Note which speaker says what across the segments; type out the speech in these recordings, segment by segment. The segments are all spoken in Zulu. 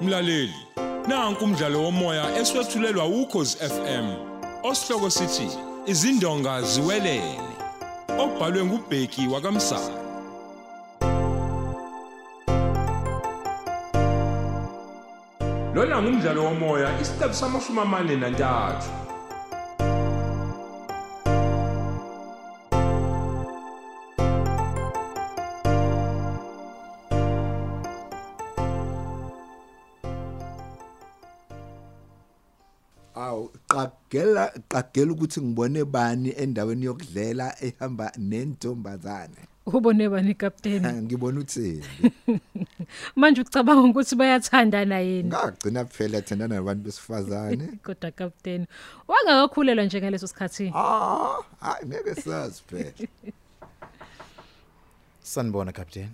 Speaker 1: Mlaleli, nanku umdlalo womoya eswetshulelwa ukhozi FM. Osihloko sithi izindonga ziwelele. Obhalwe ngubheki wakamsana. Lona ngumdlalo womoya isiqephu samashumi amane nantathu.
Speaker 2: aw qagela qagela ukuthi ngibone bani endaweni yokudlela ehamba nentombazane
Speaker 3: ubone bani captain
Speaker 2: Ah, ngibona uthembi
Speaker 3: manje ucabanga ukuthi bayathandana yini
Speaker 2: ngagcina phela ethandana nabantu besifazane
Speaker 3: kodwa captain wangakakhulelwa nje ngaleso sikhathi
Speaker 2: ah hayi ngeke sazi phela
Speaker 4: sanibona captain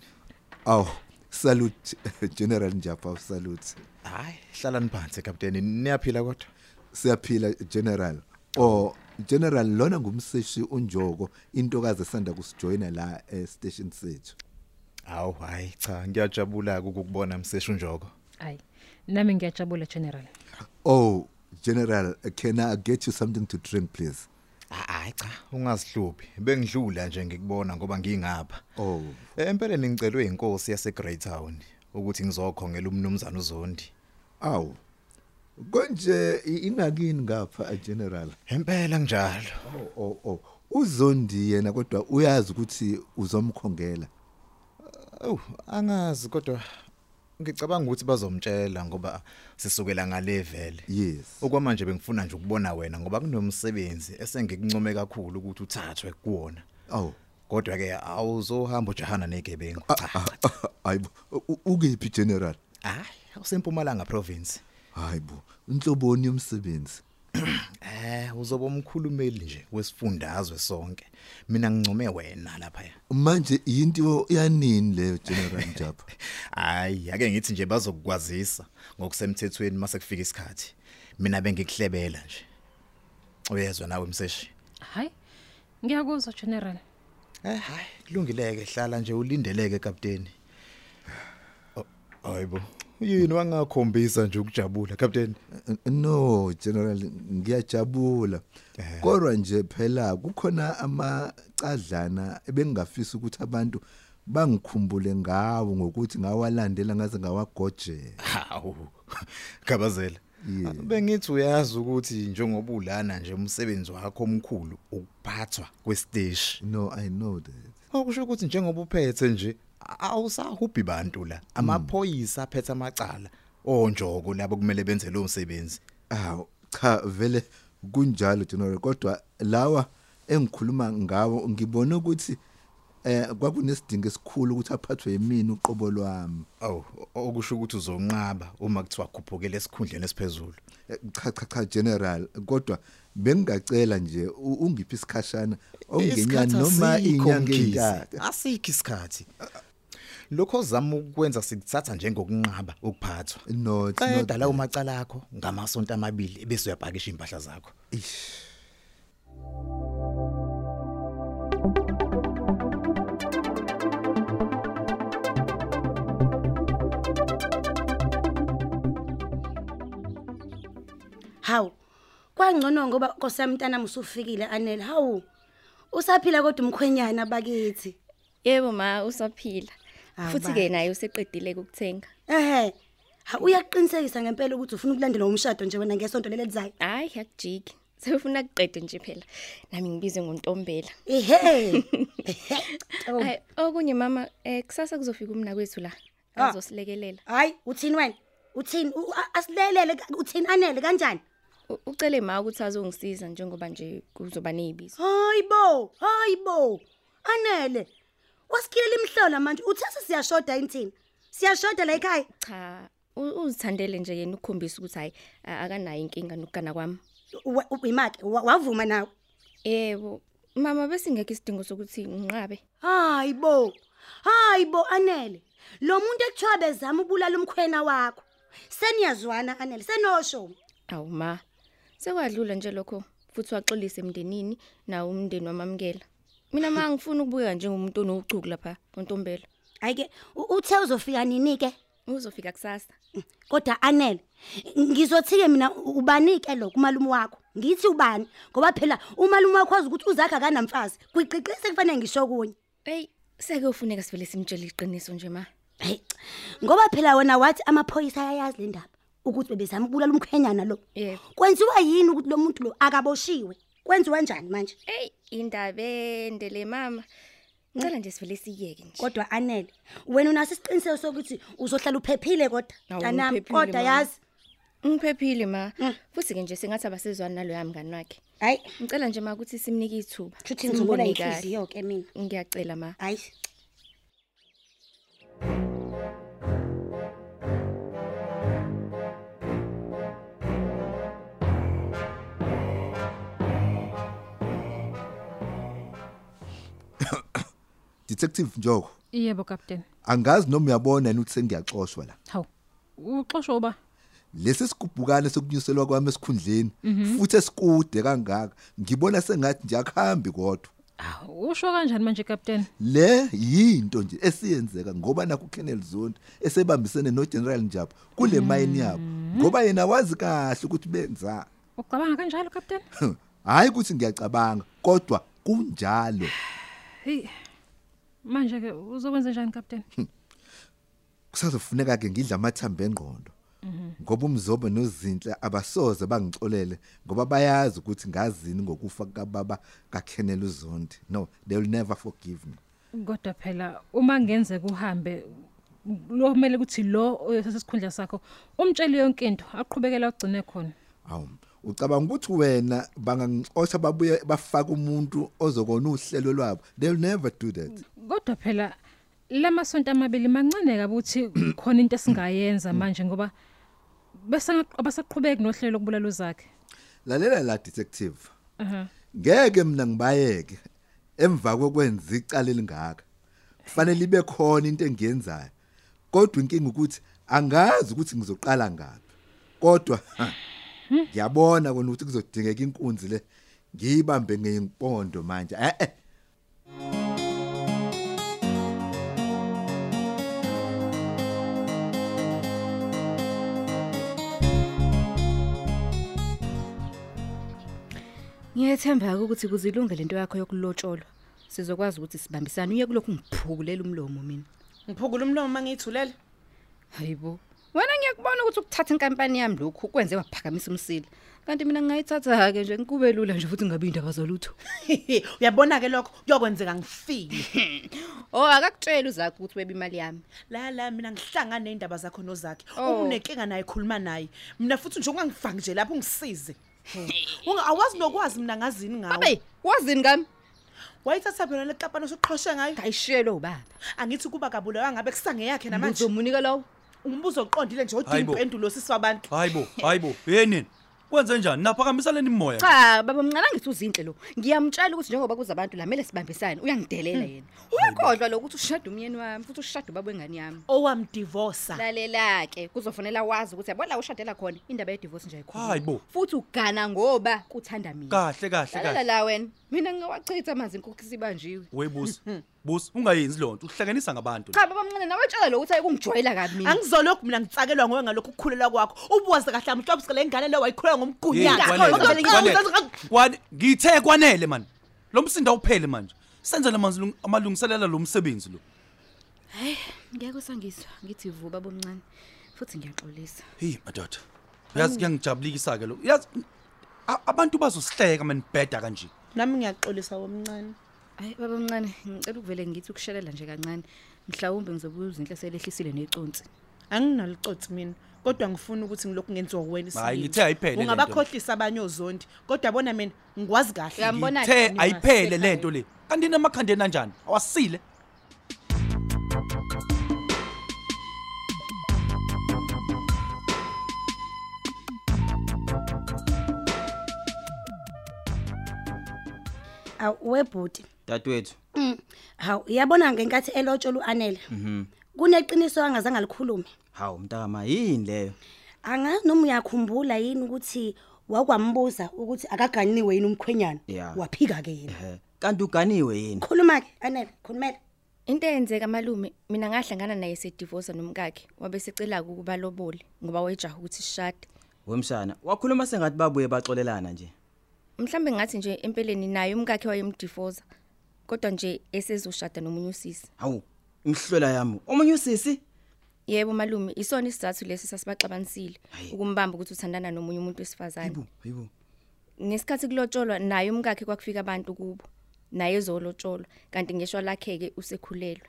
Speaker 2: aw salute general njapa salute
Speaker 4: hayi hlalani phansi captain niyaphila kodwa
Speaker 2: siyaphila general o general lona ngumseshi unjoko intokazi esanda kusijoyina la eh, station sethu
Speaker 4: awu hayi cha ngiyajabula ukukubona mseshu njoko
Speaker 3: hayi nami ngiyajabula general
Speaker 2: oh general can i get you something to drink please
Speaker 4: hayi cha ungazihluphi bengidlula nje ngikubona ngoba ngingapha Eh,
Speaker 2: oh
Speaker 4: empeleni ngicelwe inkosi yase Great Town ukuthi ngizokhongela umnumzana uZondi
Speaker 2: aw konje i- ingakini ngapha a general
Speaker 4: empela njalo
Speaker 2: oh oh, oh uzondi yena kodwa uyazi ukuthi uzomkhongela
Speaker 4: awu angazi kodwa ngicabanga ukuthi bazomtshela ngoba sisukela ngalevele
Speaker 2: yes
Speaker 4: okwamanje bengifuna nje ukubona wena ngoba kunomsebenzi esengikuncome kakhulu ukuthi uthathwe kuwona
Speaker 2: aw
Speaker 4: kodwa ke awuzohamba ujahana negebengu cha cha, cha
Speaker 2: Ah, hayibo u- ukuphi general
Speaker 4: hayi usempumalanga province
Speaker 2: hayibo inhloboni yomsebenzi
Speaker 4: eh uzoba umkhulumeli nje wesifundazwe sonke mina ngincome wena lapha
Speaker 2: manje yinto yanini leyo general njapa
Speaker 4: hayi ake ngithi nje bazokukwazisa ngokusemthethweni mase kufika isikhathi mina bengikuhlebela nje uyezwa nawe mseshi
Speaker 3: hayi ngiyakuzwa general
Speaker 4: eh hayi kulungileke hlala nje ulindeleke captain Oh, hayibo yini wangakhombisa nje ukujabula captain
Speaker 2: no general ngiyajabula kodwa nje phela kukhona amacadlana ebengingafisa ukuthi abantu bangikhumbule ngawo ngokuthi ngawalandela ngaze ngawagojela
Speaker 4: hawu gabazela
Speaker 2: Yeah.
Speaker 4: bengithi uyazi ukuthi njengoba ulana nje umsebenzi wakho omkhulu ukuphathwa kwesteshi
Speaker 2: no i know that
Speaker 4: okusho ukuthi njengoba uphethe nje awusahubi bantu la
Speaker 2: Mm.
Speaker 4: amaphoyisa aphethe amacala onjoko labo kumele benze lo msebenzi
Speaker 2: aw cha vele kunjalo general kodwa lawa engikhuluma ngawo ngibona ukuthi eh kwakunesidingo esikhulu ukuthi aphathwe yimini uqobo lwami
Speaker 4: aw okusho ukuthi uzonqaba uma kuthiwa khuphukele esikhundleni esiphezulu
Speaker 2: Eh, cha cha cha general kodwa bengingacela nje u- ungiphi isikhashana ongenyanga
Speaker 4: Isikhathi
Speaker 2: noma
Speaker 4: asikho,
Speaker 2: inyanga
Speaker 4: Mkhize.
Speaker 2: eyintathu
Speaker 4: asikho isikhathi lokho ozama ukukwenza sikuthatha njengokunqaba ukuphathwa
Speaker 2: no it's not
Speaker 4: qeda lawo macala akho ngamasonto amabili ebese uyapakisha impahla zakho
Speaker 2: Ish.
Speaker 5: hawu kwangcono ngoba nkosami mntanami usufikile anele hawu usaphila kodwa umkhwenyana bakithi
Speaker 6: Yebo ma usaphila.
Speaker 5: Awu,
Speaker 6: Futhi
Speaker 5: bahle.
Speaker 6: ke naye useqedile ukuthenga.
Speaker 5: ehe ha uyaqinisekisa ngempela ukuthi ufuna ukulandela umshado nje wena ngesonto leli elizayo
Speaker 6: Hayi yakujiki. Sefuna kuqedwe nje phela. Nami ngibize ngontombela.
Speaker 5: ehe Oh.
Speaker 6: Hayi okunye mama eh kusasa kuzofika umna kwethu la.
Speaker 5: Ah.
Speaker 6: Azosilekelela.
Speaker 5: hayi uthini wena uthini U- a- asilelele ka- uthini anele kanjani
Speaker 6: U- Ucele ma ukuthi azongisiza njengoba nje kuzoba nezibizo.
Speaker 5: hayibo hayibo anele wasikhilela imhlola manje uthe siyashoda yini thina siyashoda la ekhaya
Speaker 6: Cha u- uzithandele nje yena ukukhombisa ukuthi hayi a- akanayo inkinga nokugana kwami.
Speaker 5: Wa- u- imake wa- wavuma nawe
Speaker 6: Yebo. Mama bese ngeke isidingo sokuthi nginqabe.
Speaker 5: Hayi bo. Hayi bo Anele. Lo muntu ekuthiwa bezama ubulala umkhwena wakho. Seniyazwana Anele, senosho.
Speaker 6: Awu ma. Sekwadlula nje lokho futhi waxolisa emndenini na umndeni wamamkela. Mina ma ngifuna ukubuyeka njengomuntu onochuku lapha kontombela.
Speaker 5: Hayi ke u- uthe uzofika nini ke?
Speaker 6: Uzofika kusasa.
Speaker 5: kodwa anele ngizothi-ke mina ubanike lo kumalume wakho ngithi ubani ngoba phela umalume wakho wazi ukuthi uzakhe akanamfazi kwiqiqise kufanele ngisho kunye
Speaker 6: Ey, seke ufuneka sivele simtshele iqiniso nje ma.
Speaker 5: heyi ngoba phela wona wathi amaphoyisa ayayazi le ndaba ukuthi bebezama ukubulala umkhwenyana lo
Speaker 6: Yebo.
Speaker 5: kwenziwa yini ukuthi lo muntu lo akaboshiwe kwenziwa njani manje
Speaker 6: Ey, indaba ende le mama. Ngicela nje sivele siyeke nje.
Speaker 5: kodwa anele wena unaso isiqiniseko sokuthi uzohlala uphephile kodwa
Speaker 6: Awu,
Speaker 5: mntanami
Speaker 6: ngiphephile,
Speaker 5: kodwa
Speaker 6: mama.
Speaker 5: yazi
Speaker 6: Ngiphephile ma.
Speaker 5: Mm.
Speaker 6: Futhi ke nje sengathi abasezwani nalo yamngani wakhe.
Speaker 5: hayi
Speaker 6: Ngicela nje ma ukuthi simnike ithuba.
Speaker 5: shuthi ngizobona
Speaker 6: Simbone kahle.
Speaker 5: inhliziyo ke mina
Speaker 6: Ngiyacela ma.
Speaker 5: hayi
Speaker 2: detective njoko
Speaker 3: Yebo captain.
Speaker 2: angazi noma uyabona yini ukuthi sengiyaxoshwa la
Speaker 3: Hawu. Uxoshwa uba
Speaker 2: lesi sigubhukane sokunyuselwa kwami esikhundleni futhi esikude kangaka ngibona sengathi nje akuhambi kodwa
Speaker 3: awu usho kanjani manje captain?
Speaker 2: le yinto nje esiyenzeka ngoba nakho uKenneth Zondi esebambisene noGeneral Njapa kule mine yabo ngoba yena wazi kahle ukuthi benza
Speaker 3: Ucabanga kanjalo captain?
Speaker 2: hayi ukuthi ngiyacabanga kodwa kunjalo
Speaker 3: Hey. Manje ke uzokwenza njani captain?
Speaker 2: kusazofuneka ke ngidla amathambo engqondo ngoba umzobo nozinhle abasoze bangicolele ngoba bayazi ukuthi ngazini ngokufa kababa kaKenneth Zondi no they will never forgive me
Speaker 3: Kodwa phela uma ngenzeka uhambe lo kumele ukuthi lo osesikhundla sakho umtshele yonke into aqhubekela ugcine khona.
Speaker 2: Hawu, ucabanga ukuthi wena bangangixosha babuye bafaka umuntu ozokona uhlelo lwabo. They'll never do that.
Speaker 3: Kodwa phela lamasonto amabili mancane kabuthi khona into esingayenza manje ngoba bese abasaqhubeki nohlelo lokubulala uzakhe.
Speaker 2: Lalela la detective.
Speaker 3: Mhm.
Speaker 2: Ngeke mina ngibayeke emva kokwenza icala elingaka. Kufanele ibe khona into engiyenzayo. Kodwa inkinga ukuthi angazi ukuthi ngizoqala ngapi. Kodwa ha, ngiyabona kona ukuthi kuzodingeka inkunzi le ngiyibambe ngempondo manje. Eh eh.
Speaker 7: Ngiyethemba ukuthi kuzilunge lento yakho yokulotsholwa. Sizokwazi ukuthi sibambisane uye kulokhu ngiphukulela umlomo mina.
Speaker 8: ngiphukula umlomo uma ngiyithulele
Speaker 7: Hayibo. Wena ngiyakubona ukuthi ukuthatha inkampani yami lokhu kwenze waphakamisa umsila. Kanti mina ngingayithatha ke nje ngikube lula nje futhi ngabe indaba zolutho.
Speaker 8: uyabona-ke lokho kuyokwenzeka ngifile
Speaker 7: Oh akakutshela uzakho ukuthi weba imali yami.
Speaker 8: lala mina ngihlangane ney'ndaba zakho nozakhe
Speaker 7: Oh.
Speaker 8: unenkinga naye khuluma naye mina futhi nje ungangivangi nje lapho ungisize Unga- awazi nokwazi mina ngazini ngawo
Speaker 7: Abe wazini ngami?
Speaker 8: wayithatha phela le kapani osuqhoshe ngayo
Speaker 7: Ngayishiyelwe ubaba.
Speaker 8: angithi kuba kabulawa ngabe kusangeyakhe namanje
Speaker 7: Uzomunika lawo.
Speaker 8: umbuzo oqondile nje odinga
Speaker 9: Hayibo.
Speaker 8: impendulo sisi wabantu
Speaker 9: hayibo hayibo yenini kwenze njani naphakamisaleni imimoya
Speaker 7: Cha baba mncane ngithi uzinhle lo. Ngiyamtshela ukuthi njengoba kuzabantu la mele sibambisane uyangidelela yena. Uyakhodwa lokuthi ushada umyeni wami futhi ushada ubaba wengane yami.
Speaker 8: owamdivosa
Speaker 7: lalela ke kuzofanele wazi ukuthi yabona la ushadela khona indaba yedivorce nje ayikho
Speaker 9: Hayi bo.
Speaker 7: futhi ugana ngoba kuthanda mina
Speaker 9: kahle kahle
Speaker 7: lalela
Speaker 9: kahle
Speaker 7: la wena mina ngingawachitha amanzi inkukhu sibanjiwe
Speaker 9: webusi busi ungayenzi loo nto uhlanganisa ngabantu
Speaker 7: cha baba mncane nawe tshela lo ukuthi ayikungijoyela kabi mina
Speaker 8: angizolokhu mina ngitsakelwa ngowe ngalokhu ukukhulelwa kwakho ubuwaze kahle amhlobisike le ngane le wayikhulela
Speaker 9: Hey, kwanele, kwanele. Kwane- ngithe kwanele mani lo msindo awuphele manje senzele amanzi- amalungiselela lo msebenzi lo
Speaker 7: ngeke sangiswa ngithi vu baba mncane futhi ngiyaxolisa
Speaker 9: heyi madoda yazi
Speaker 7: Mm.
Speaker 9: kuyangijabulikisa-ke lo yazi a- abantu bazosihleka manibheda kanje
Speaker 8: nami ngiyaxolisa womncane
Speaker 7: hayi baba mncane ngicela ukuvele ngithi ukushelela nje kancane mhlawumbe ngizobuya uzinhle selehlisile neconsi
Speaker 8: anginalicotsi mina kodwa ngifuna ukuthi ngilokhu ngenziwa
Speaker 9: Hhayi,
Speaker 8: wena isibindi.
Speaker 9: ngithe ayiphele le nto.
Speaker 8: ungabakhohlisa abanye ozondi kodwa bona mina ngikwazi kahle
Speaker 7: Uyambona- Mbona-ke
Speaker 9: ngithe
Speaker 7: nina
Speaker 9: ayiphele le
Speaker 7: sekhaya.
Speaker 9: nto le kanti namakhandeni anjani awasile
Speaker 5: awu webhuti
Speaker 10: dadwethu
Speaker 5: hawu uyabona ngenkathi elotsho lu-anele
Speaker 10: Mhm.
Speaker 5: kuneqiniso angazange likhulume
Speaker 10: hawu mntama yini leyo
Speaker 5: angazi noma uyakhumbula yini ukuthi wakwambuza ukuthi akaganiwe yini umkhwenyana
Speaker 10: Ya.
Speaker 5: waphika-ke yena
Speaker 10: ehe kanti uganiwe yini
Speaker 5: khuluma-ke anele khulumela
Speaker 6: Into eyenzeka malume mina ngahlangana naye sedivorce nomkakhe wabesecela ukuba lobole ngoba wayejaha ukuthi sishade.
Speaker 10: wemshana wakhuluma sengathi babuye baxolelana nje
Speaker 6: Mhlambe ngathi nje empeleni naye umkakhe wayemdivorce kodwa nje esezoshada nomunye usisi.
Speaker 10: hawu imhlola yami omunye usisi
Speaker 6: Yebo malume isona isizathu lesi sasibaxabanisile ukumbamba ukuthi uthandana nomunye umuntu wesifazane.
Speaker 10: hayibo
Speaker 6: Ngesikhathi kulotsholwa naye umkakhe kwakufika abantu kubo. Naye ezolotsholwa kanti ngeshwa lakhe ke usekhulelwe.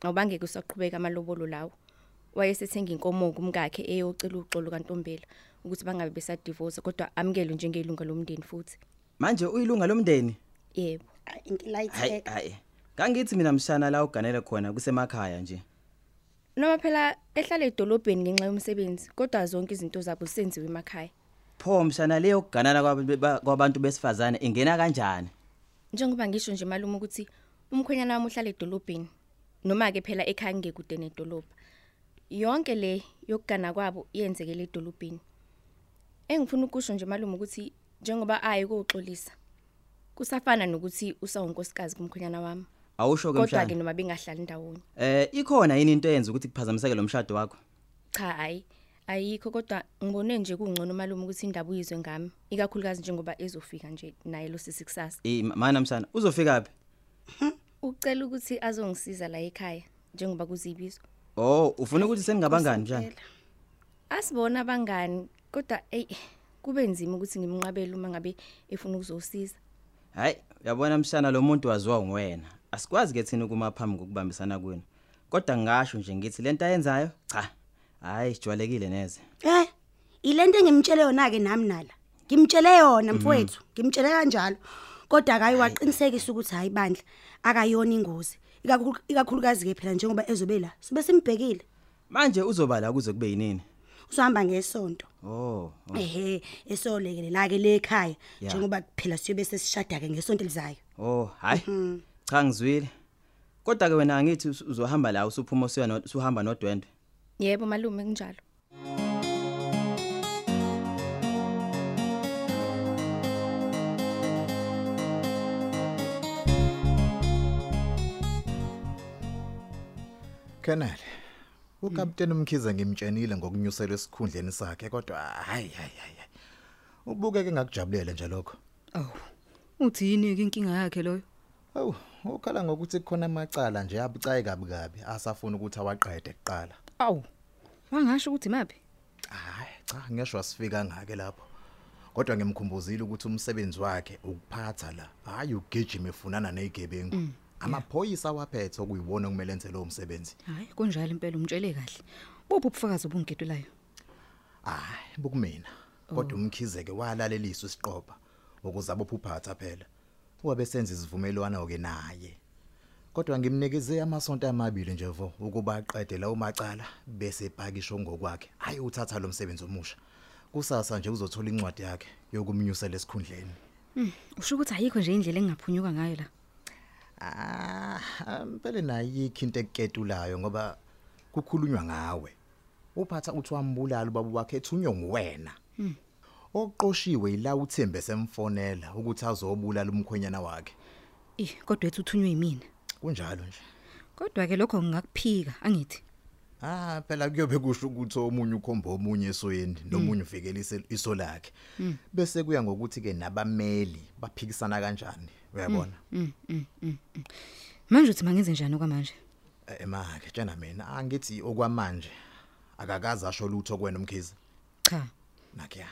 Speaker 6: Awubangeke usaqhubeka amalobolo lawo. Wayesethenga inkomo kumkakhe eyocela uxolo kantombela ukuthi bangabe besadivorce kodwa amkelo njengelunga lomndeni futhi.
Speaker 10: manje uyilunga lomndeni
Speaker 6: Yebo.
Speaker 10: hayi
Speaker 5: Eh.
Speaker 10: hayi kangithi mina mshana la uganele khona kusemakhaya nje
Speaker 6: Noma phela ehlala edolobheni ngenxa yomsebenzi kodwa zonke izinto zabo zisenziwe emakhaya.
Speaker 10: pho mshana leyo kuganana kwab- ba- kwabantu besifazane ingena kanjani
Speaker 6: Njengoba ngisho nje malume ukuthi umkhwenyana wami uhlala edolobheni noma ke phela ekhaya ngekude nedolobha. Yonke le yokugana kwabo iyenzekele edolobheni. Engifuna ukusho nje malume ukuthi njengoba aye koxolisa kusafana nokuthi usawonkosikazi kumkhwenyana wami.
Speaker 10: awusho ke
Speaker 6: Kodwa ke
Speaker 10: mshana
Speaker 6: noma bengahlali ndawonye.
Speaker 10: eh ikhona yini into eyenza ukuthi kuphazamiseke lo mshado wakho
Speaker 6: Cha hayi. Ayikho kodwa ngibone nje kungcono malume ukuthi indaba uyizwe ngami. Ikakhulukazi njengoba ezofika nje naye lo sisi kusasa.
Speaker 10: Eh mana mshana uzofika phi
Speaker 6: Ucela ukuthi azongisiza la ekhaya njengoba kuzibizo.
Speaker 10: oh ufuna ukuthi seningabangani mshana
Speaker 6: Asibona abangani kodwa ey kube nzima ukuthi ngimnqabele uma ngabe efuna ukuzosiza.
Speaker 10: hayi uyabona mshana lo muntu waziwa nguwena asikwazi ke thina ukuma phambi kokubambisana kwenu kodwa ngisho nje ngithi lento ayenzayo cha hayi ijwayelekile neze
Speaker 5: Eh, ilento engimtshele yona ke nami nala. Ngimtshele yona mfowethu, ngimtshele kanjalo. Kodwa akayi waqinisekisa ukuthi hayi bandla akayona ingozi. Ikakhulu- Ikakhulukazi ke phela njengoba ezobe la, sobe simbhekile.
Speaker 10: manje uzoba la kuze kube yinini
Speaker 5: Uzohamba ngesonto.
Speaker 10: oh oh,
Speaker 5: Ehhe, esolekelela ke le ekhaya
Speaker 10: Ya.
Speaker 5: njengoba phela siyobe sesishada ke ngesonto elizayo.
Speaker 10: oh hayi cha ngizwile kodwa ke wena angithi us- uzohamba la usuphuma usiya no- usuhamba nodwendwe
Speaker 6: Yebo malume kunjalo.
Speaker 4: Colonel, ukapteni uMkhize ngimtshenile ngokunyuselwa esikhundleni sakhe kodwa hayi hayi hayi. Ubukeke ngakujabulela nje lokho.
Speaker 7: uthi yini ke inkinga yakhe loyo
Speaker 4: Awu, ukhala ngokuthi kukhona amacala nje abucayi kabi kabi asafuna ukuthi awaqede kuqala.
Speaker 7: awu wangasho ukuthi maphi
Speaker 4: Hayi cha, ngisho asifika ngake lapho. Kodwa ngimkhumbuzile ukuthi umsebenzi wakhe ukuphatha la. Hayi ugijima efunana nezigebengu. Amaphoyisa awaphethe okuyiwona okumele enze lo msebenzi.
Speaker 7: hayi kunjalo impela umtshele kahle buphi ubufakazi obungidwelayo
Speaker 4: Hayi bukumina. Kodwa umkhizeke walalelisa isiqopa ukuze abophuphatha phela. Wabe senza isivumelwano ke naye. Kodwa ngimnikeze amasonto amabili nje vo ukuba aqede lawo macala bese epakisho ngokwakhe. Hayi uthatha lo msebenzi omusha. Kusasa nje uzothola incwadi yakhe yokumnyusela esikhundleni.
Speaker 7: Mm, usho ukuthi ayikho nje indlela engingaphunyuka ngayo la
Speaker 4: Ah, impela nayikho into ekuketulayo ngoba kukhulunywa ngawe. Uphatha uthi wambulala ubaba wakhe ethunywe nguwena.
Speaker 7: Mm.
Speaker 4: Oqoshiwe ila uthembe semfonela ukuthi azobulala umkhwenyana wakhe.
Speaker 7: Eh, kodwa ethi uthunywe yimina.
Speaker 4: Kunjalo nje.
Speaker 7: Kodwa ke lokho ngingakuphika, angithi.
Speaker 4: Ah, phela kuyobe kusho ukuthi omunye ukhomba omunye esoyeni nomunye uvikelise iso lakhe.
Speaker 7: Mm.
Speaker 4: Bese kuya ngokuthi ke nabameli baphikisana kanjani, uyabona?
Speaker 7: Mm, mm, mm, mm. Manje uthi mangenze njani okwamanje?
Speaker 4: E, Emake tjena mina angithi okwamanje akakazi asho lutho kwena umkhize.
Speaker 7: Cha.
Speaker 4: Nakhe.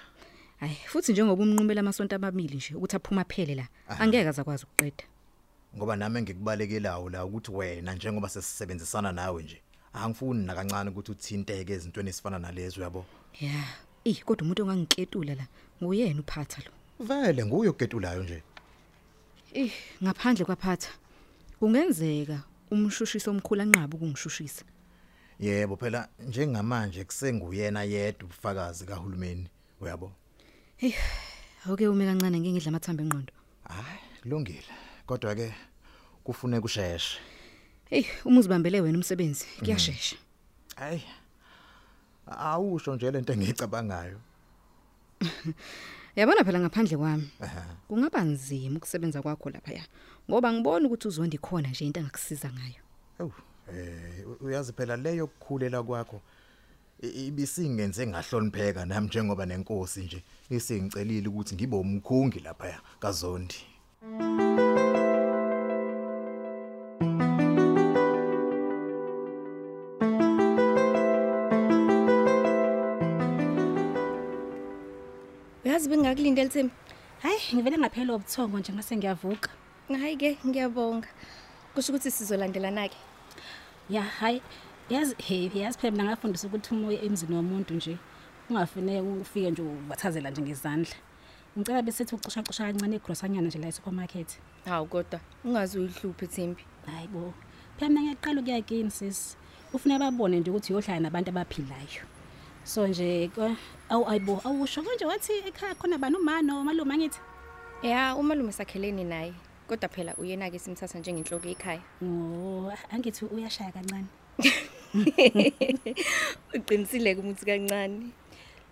Speaker 7: Hayi, futhi njengoba umnqumela amasonto amabili nje ukuthi aphuma phele la, angeke azakwazi ukuqeda.
Speaker 4: ngoba nami engikubalekelayo la ukuthi wena njengoba sesisebenzisana nawe nje angifuni nakancane ukuthi uthinteke ezintweni esifana nalezo uyabo
Speaker 7: Yeah. Eh, kodwa umuntu ongangiketula la, nguyena uphatha lo.
Speaker 4: vele nguye ogedulayo nje
Speaker 7: Eh, ngaphandle kwaphatha. Kungenzeka umshushisi omkhulu anqaba ukungishushisa.
Speaker 4: yebo phela njengamanje kusenguyena yedwa ubufakazi kahulumeni uyabo
Speaker 7: Oke ume kancane ngeke ngidla amathamba enqondo.
Speaker 4: hayi kulungile kodwa ke kufuneka usheshe
Speaker 7: Eh, uma uzibambele wena umsebenzi, kuyashesha.
Speaker 4: hayi awusho nje lento engicabangayo
Speaker 7: Yabona phela ngaphandle kwami. Kungaba nzima ukusebenza kwakho lapha ya. Ngoba ngibona ukuthi uzondikhona nje into angakusiza ngayo.
Speaker 4: Ewu eh u- uyazi phela leyo kukhulela kwakho i- ibisingenze ngahlonipheka nami njengoba nenkosi nje isingicelile ukuthi ngibe umkhungi lapha kaZondi.
Speaker 6: uyazi bengakulindela Thembi
Speaker 11: hayi ngivele ngaphela obuthongo nje ngase ngiyavuka
Speaker 6: hayi ke ngiyabonga kusho ukuthi sizolandelana ke
Speaker 11: ya hayi yazi he yazi phela mina ngafundisa ukuthi umoya emzini womuntu nje ungafine ufike nje ubathazela nje ngezandla ngicela besethi ucishaqisha kancane igrosanyana nje la esupermarket
Speaker 6: hawu kodwa ungazi uyihluphe Thembi
Speaker 11: hayi bo phela mina ngiyaqala ukuya kini sis ufuna babone nje ukuthi uyohlala nabantu abaphilayo so nje ko- awu ayibo awusho konje wathi ekhaya khona bani umano umalume angithi
Speaker 6: ya umalume sakhelene naye kodwa phela uyena ke simthatha njengenhloko ekhaya
Speaker 11: oh angithi uyashaya kancane
Speaker 6: uqinisile ukuthi kancane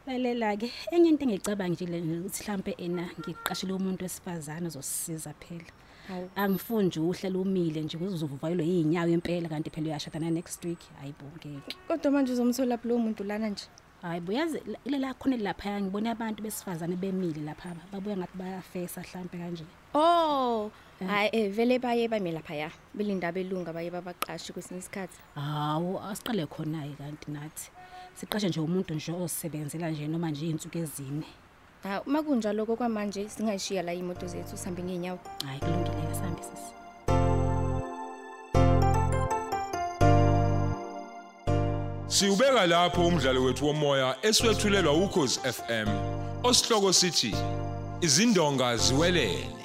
Speaker 11: lalela-ke enye into engiyicabanga nje le ukuthi hlampe ena ngiqashele umuntu wesifazane ozosisiza phela
Speaker 6: Hawu.
Speaker 11: angifuni nje uhlala umile nje ukuze uzovuvayelwe yiy'nyawo impela kanti phela uyashadana next week hayi bo ngeke
Speaker 6: kodwa manje uzomthola lapho lo muntu lana nje
Speaker 11: hayi bo yazi la- ilela khona laphaya ngibone abantu besifazane bemile lapha babuya ngathi bayafesa hlampe kanje
Speaker 6: oh hayi eh, vele baye bame lapha ya belindaba elunga baye babaqashi kwesinye isikhathi
Speaker 11: hawu asiqale khona-ke kanti nathi siqashe nje umuntu nje ozisebenzela nje noma nje iy'nsuku ezine
Speaker 6: hawu uma kunjalo kokwamanje singayishiya la iy'moto zethu sihambe ngey'nyawo
Speaker 11: hayi kulungileke sihambe sisi
Speaker 1: Siubeka lapho umdlalo wethu womoya eswetshulelwa ukhozi FM. Osihloko sithi izindonga ziwelele.